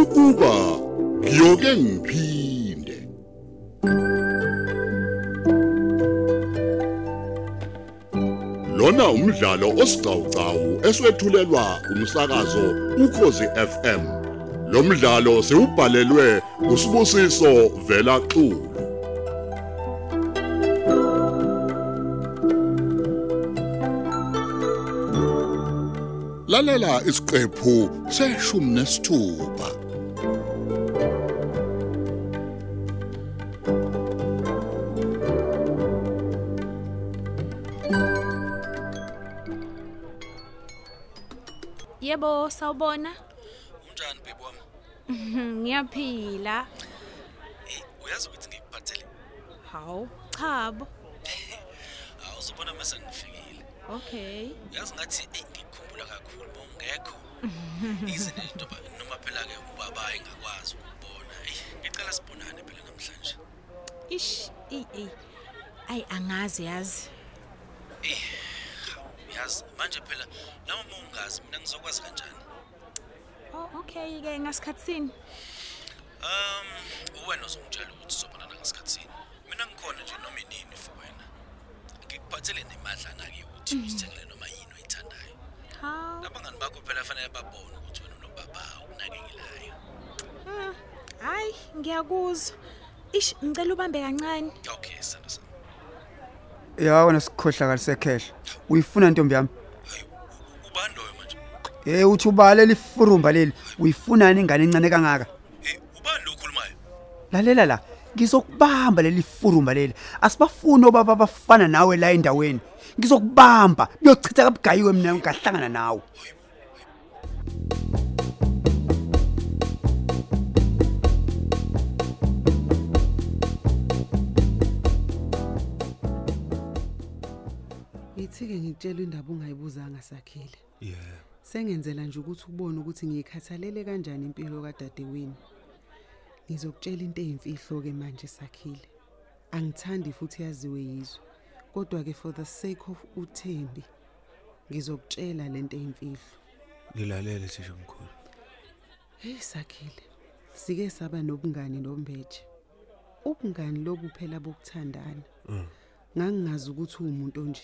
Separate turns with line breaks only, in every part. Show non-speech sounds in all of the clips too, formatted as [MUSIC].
ukuba ngiyoke ngiphinde lona umdlalo osiqhawqhawo eswethulelwa umsakazo ukhozi FM lo mdlalo siubhalelwe usibusiso vela xulu lalela isiqephu seshumi nesithupha
Yebo, sawubona.
Unjani bhebo wami?
Ngiyaphila.
Hey, Eh, uyazi ukuthi ngikuphathele.
Hawu, chabo.
Hawu uzobona mase ngifikile.
Okay.
Uyazi ngathi hey ngikukhumbula kakhulu bongekho. Izinto njengoba noma phela ke ubaba engakwazi ukubona. Hey, ngicela sibonane phela namhlanje.
Ish, ey ey. Ay angazi yazi.
Hawu, Uyazi manje phela noma uma ungazi mina ngizokwazi kanjani?
Oh, okay ke ngasikhatsini.
Um, uwena uzongitshela ukuthi sizobonana ngasikhathini. Mina ngikhona nje noma inini for wena. Ngikuphathele nemadlana ke ukuthi usithengele noma yini oyithandayo.
Hawu.
Abangani bakho phela fanele babone ukuthi wena unobaba ukunakekelayo.
mm, Hayi, ngiyakuzwa. Ish, ngicela ubambe kancane.
Okay, sithando sami.
ya wena sikhohlakali sekhehla uyifuna ntombi yami
Hayi, ubani loyo manje?
hey uthi ubale lifurumba leli uyifunani ingane encane kangaka
Eh, ubani lo okhulumayo?
lalela la ngizokubamba leli furumba leli asibafuni obaba abafana nawe la endaweni ngizokubamba kuyochitha kabugayiwe mina ngingahlangana nawe
Ngithike ngitshela indaba ungayibuzanga sakhile.
yebo
Sengenzela nje ukuthi ubone ukuthi ngiyikhathalele kanjani impilo kadadewini. Ngizokutshela into eyimfihlo ke manje sakhile. Angithandi futhi yaziwe yizwe. Kodwa ke for the sake of uThembi ngizokutshela lento eyimfihlo.
ngilalele thisha mkhulu
Hey sakhile. Sike saba nobungani nombeje. Ubungani lobuphela bokuthandana.
Mm.
Ngangingazi ukuthi umuntu onje.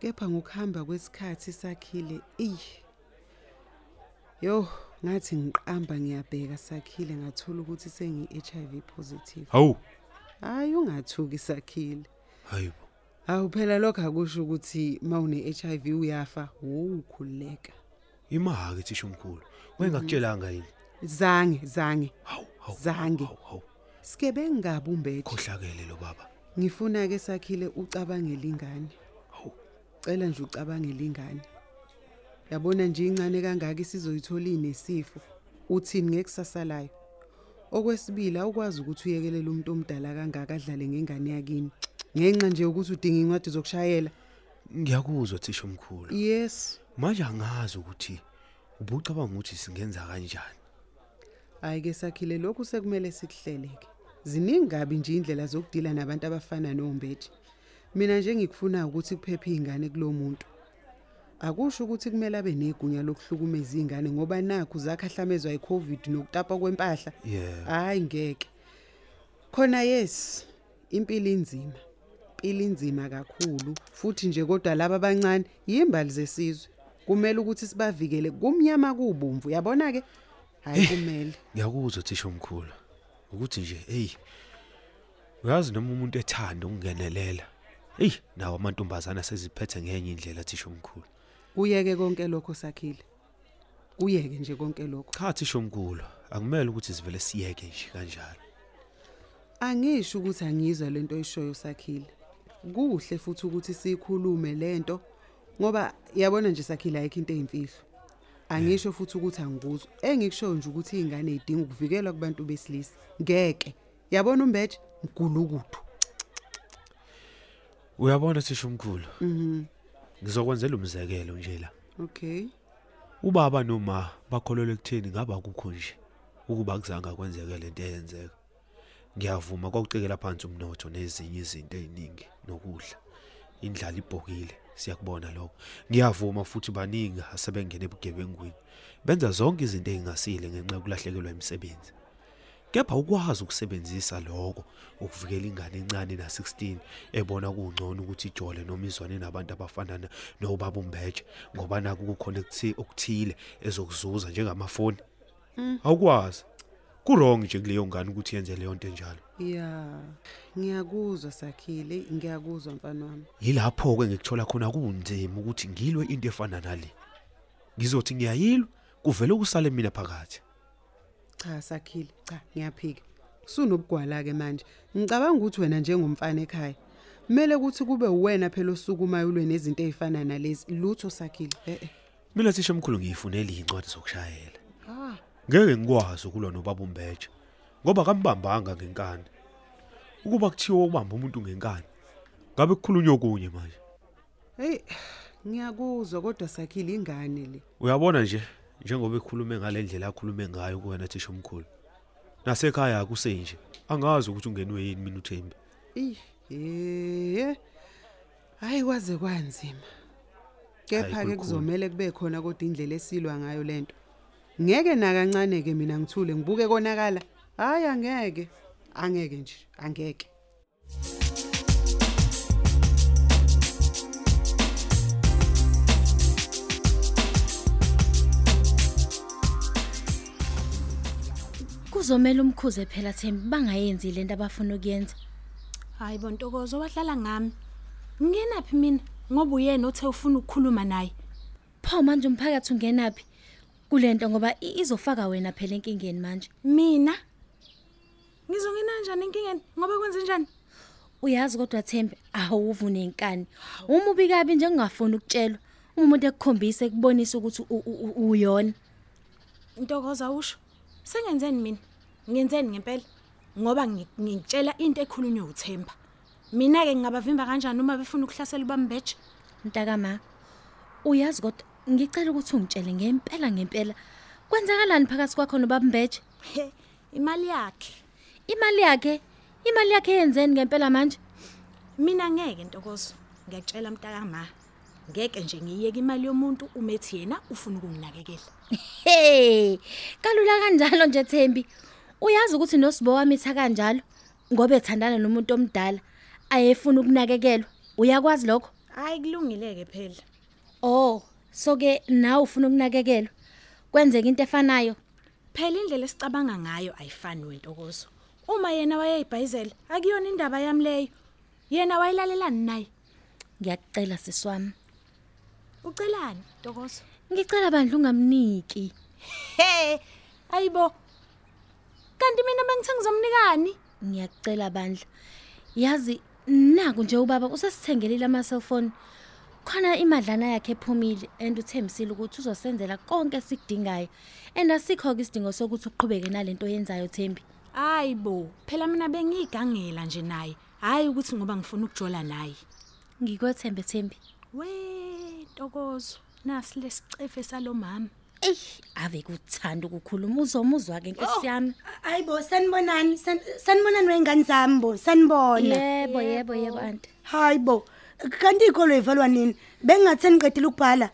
Kepha ngokuhamba kwesikhathi sakhile, eyi. Yo, ngathi ngiqamba ngiyabheka sakhile ngathola ukuthi sengi-HIV positive.
hawu
Hayi ungathuki sakhile.
hayi bo
Hawu phela lokho akusho ukuthi mawune HIV uyafa, ukhululeka.
imaki thisha mkhulu wengakutshelanga yini
Zange, zange.
hawu hawu
Zange.
hawu, hawu
Sike bengabe umbeje.
khohlakele lo baba
Ngifuna ke sakhile ucabangele ingane.
hawu
Cela nje ucabangele ingane. Yabona nje incane kangaka isizoyithola inesifo. Uthini ngekusasa layo? Okwesibili awukwazi ukuthi uyekelele umuntu omdala kangaka adlale ngengane yakini. Ngenxa nje ukuthi udinga incwadi zokushayela.
ngiyakuzwa thisha mkhulu
Yes.
manje angazi ukuthi ubucabanga ukuthi singenza kanjani
Hayi ke sakhile lokhu sekumele sikuhleleke. Ziningi kabi nje indlela zokudila nabantu abafana noMbethi. Mina nje ngikufuna ukuthi kuphephe izingane kulomuntu. Akusho ukuthi kumele abe negunya lokuhlukumeza izingane ngoba nakho zakhahlamezwa yiCovid nokutapa kwempahla.
Yebo.
Hayi ngeke. Khona yes, impilo inzima. Impilo inzima kakhulu futhi nje kodwa laba abancane yimbali zesizwe. Kumele ukuthi sibavikele kumnyama kubomvu. Uyabona ke? Hayi kumele.
ngiyakuzwa thisha mkhulu ukuthi nje hey uyazi noma umuntu ethanda ukungenelela eyi nawo amantombazana seziphethe ngenye indlela thisha mkhulu
Kuyeke konke lokho sakhile. Kuyeke nje konke lokho.
cha thisha mkhulu akumele ukuthi sivele siyeke nje kanjalo
Angisho ukuthi angizwa lento oyishoyo sakhile. Kuhle futhi ukuthi sikhulume lento ngoba yabona nje sakhile ayikho into eyimfihlo. Angisho futhi ukuthi angikuzwa. Engikusho nje ukuthi izingane zidinga ukuvikelwa kubantu besilisa. Ngeke. Yabona umbeje mgulukuthu.
Uyabona thisha umkhulu. Mhm. Ngizokwenzela umzekelo nje la.
Okay.
Ubaba noma bakholelwe ekutheni ngaba kukho nje ukuba kuzanga kwenzeke lento eyenzeka. Ngiyavuma kwakucekela phansi umnotho nezinye izinto eziningi nokudla. indlala ibhokile siyakubona lokho ngiyavuma futhi baningi asebengene ebugebengwini benza zonke izinto ezingasile ngenxa yokulahlekelwa imisebenzi kepha ukwazi ukusebenzisa lokho ukuvikela ingane encane na16 ebona kungcono ukuthi ijole noma izwane nabantu abafanana nobaba umbetshe ngoba naku kukhona ekuthi- okuthile ezokuzuza njengamafoni awukwazi kurong nje kuleyo ngane ukuthi yenze leyo nto enjalo
ya ngiyakuzwa sakhile ngiyakuzwa mfana wami
yilapho ke ngikuthola khona kunzima ukuthi ngilwe into efana nale ngizothi ngiyayilwa kuvele ukusale mina phakathi
cha sakhile cha ngiyaphika sunobugwala-ke manje ngicabanga ukuthi wena njengomfana ekhaya kumele ukuthi kube uwena phela osukumayo ulwe nezinto ey'fana nalezi lutho sakhile e-e
mina thisha omkhulu ngiyifunele incwadi zokushayela
ah
ngeke ngikwazi ukulwa nobaba umbetshe ngoba kambambanga ngenkani ukuba kuthiwa ubamba umuntu ngenkani ngabe kukhulunywe okunye manje
heyi ngiyakuzwa kodwa sakhile ingane le
uyabona nje njengoba ekhulume ngale ndlela akhulume ngayo kuwena thisha omkhulu nasekhaya kusenje angazi ukuthi ungenwe yini mina uthembi
eyi ye hhayi kwaze kwanzima kepha-ke
kulikhulu.
kuzomele kube khona kodwa indlela esilwa ngayo le nto ngeke nakancane-ke mina ngithule ngibuke konakala hhayi angeke angeke nje angeke
kuzomela umkhuze phela thembi bangayenzi le nto abafuna ukuyenza
hayi bontokozo wadlala ngami ngingenaphi mina ngoba uyena othe ufuna ukukhuluma naye
pho manje umphakathi ungenaphi kule nto ngoba i- izofaka wena phela enkingeni manje
mina ngizongena njani enkingeni ngoba kwenze njani
uyazi kodwa thembi awuvu nenkani uma ubikabi nje kungafuni ukutshelwa uma umuntu ekukhombise ekubonisa ukuthi u- u- u- uyona
ntokozo awusho sengenzeni mina ngenzeni ngempela ngoba ngi- ngitshela into ekhulunywe uthemba mina-ke ngingabavimba kanjani uma befuna ukuhlasela ubambeje
mntakama uyazi kodwa ngicela ukuthi ungitshele ngempela ngempela kwenzakalani phakathi kwakho nobabambeje
he imali yakhe
imali yakhe imali yakhe yenzeni ngempela manje
mina ngeke ntokozo ngiyakutshela mntakama ngeke nje ngiyiyeke imali yomuntu umethi yena ufuna ukunginakekela
Hey, kalula kanjalo nje Thembi. Uyazi ukuthi nosibo wami itha kanjalo ngoba ethandana nomuntu omdala ayefuna ukunakekelwa. Uyakwazi lokho?
hhayi kulungile-ke phela
Oh, so ke nawe ufuna ukunakekelwa. Kwenzeka into efanayo.
phela indlela esicabanga ngayo ayifani wentokozo uma yena wayeyibhayizela akuyona indaba yami leyo yena wayelalelani naye
Ngiyacela siswami.
ucelani ntokozo
Ngicela bandla ungamniki.
he ayibo kanti mina bengithi ngizomnikani
Ngiyacela bandla. Yazi naku nje ubaba usesithengelile ama cellphone. Khona imadlana yakhe ephumile and uthembisile ukuthi uzosenzela konke esikudingayo. And asikho ke isidingo sokuthi uqhubeke nalento oyenzayo Thembi.
hayi bo phela mina bengiyigangela nje naye hhayi ukuthi ngoba ngifuna ukujola naye
Ngikwethembe Thembi.
we ntokozo nasi lesicefe salo mama
Ey, ave kuthanda ukukhuluma uzomuzwa ke inkosi yami.
hayi bo sanibonani San- sanibonani wey'ngane zami bo sanibona
Yebo, yebo, yebo aunt.
hayi bo kanti iy'kolo yivalwa nini bengingathi seniqedile ukubhala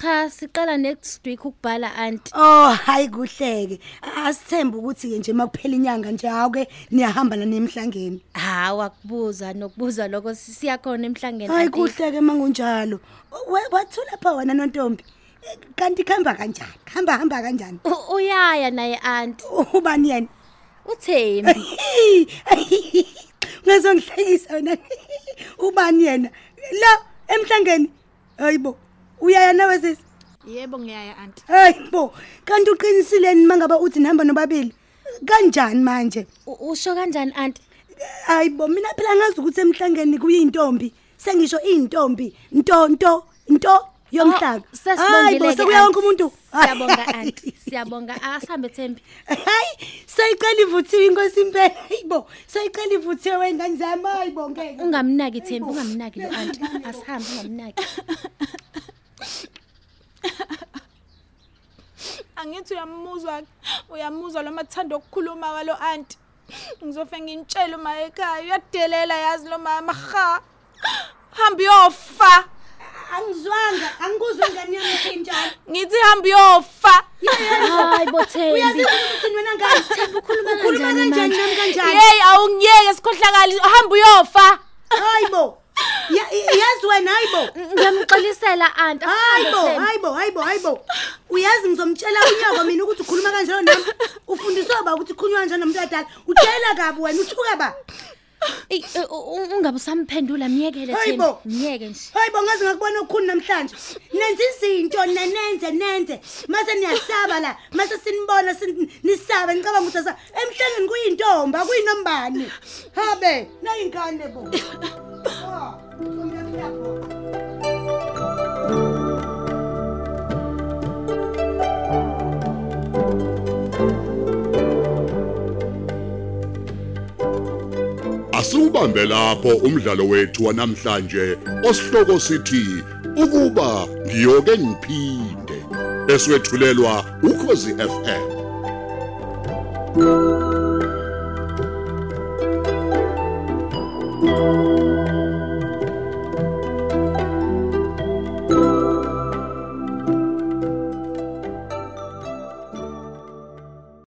Cha, siqala next week ukubhala aunt.
oh hhayi kuhle-ke asithembe ukuthi-ke nje uma kuphela inyanga nje hawu-ke niyahamba nani emhlangeni
Hawa kubuza nokubuza lokho siyakhona emhlangeni.
hayi
auntie.
kuhle-ke uma kunjalo We- wathula pha wena nontombi Eh, kanti kuhamba kanjani kuhamba hamba kanjani
U- Uyaya naye aunt.
ubani yena
Uthembi.
ungazongihlekisa wena ubani yena la emhlangeni hayi bo uyaya nawe sisi
yebo ngiyaya anti
hayi bo kanti uqinisileni uma ngabe uthi nihamba nobabili kanjani manje
U- Usho kanjani
[LAUGHS]
aunt?
hayi bo mina phela ngazi ukuthi emhlangeni kuyintombi sengisho iy'ntombi nto nto nto yomhlaba
Oh,
Hhayi bo
sesibongile-ke,
sekuya
aunty.
wonke umuntu
Siyabonga aunty. Siyabonga. Asihambe Thembi.
[LAUGHS] hayi sayicela ivuthiwe inkosi impela hayi bo sayicela ivuthiwe wengane zami hayi bo ngeke
Ungamnaki Thembi, ungamnaki lo aunty. Asihambe ungamnaki.
angithi uyamuzwa uyamuzwa lo mathanda okukhuluma walo anti ngizofe ngintshele uma ekhaya uyadelela yazi lo mama ha hamba uyofa
angizwanga angikuzwe ngani yami injalo
ngithi hamba uyofa
hayi bothembi
uyazi wena ngani
ukhuluma
ukhuluma
kanjani
kanjani
manje?
nami kanjani
yeyi awungiyeke sikhohlakali hamba uyofa
hayibo Ya- i- yazi wena hayibo
ngiyamxolisela anti asihambe,
hayibo
Thembi.
hayibo hayibo hayibo uyazi ngizomtshela unyoko mina ukuthi ukhuluma kanjalo nami ufundiswe ba ukuthi khunywa kanjani nomuntu adala utshela kabi wena uthuka ba
Eyi, eh, u- u- ungabe usamphendula myekele
Hayi
Thembi
bo.
myeke nje
hayibo ngaze ngakubona okukhuni namhlanje nenze izinto nina nenze nenze mase niyasaba la mase sinibona sin- nisabe ngicabanga ukuthi asa emhlangeni kuyintomba kuyinombani habe nayingane bo Ah, umuntu uyabhonga.
Asubambe lapho umdlalo wethu wanamhlanje osihloko sithi ukuba ngiyoke ngiphinde eswetshulelwa ukhozi FM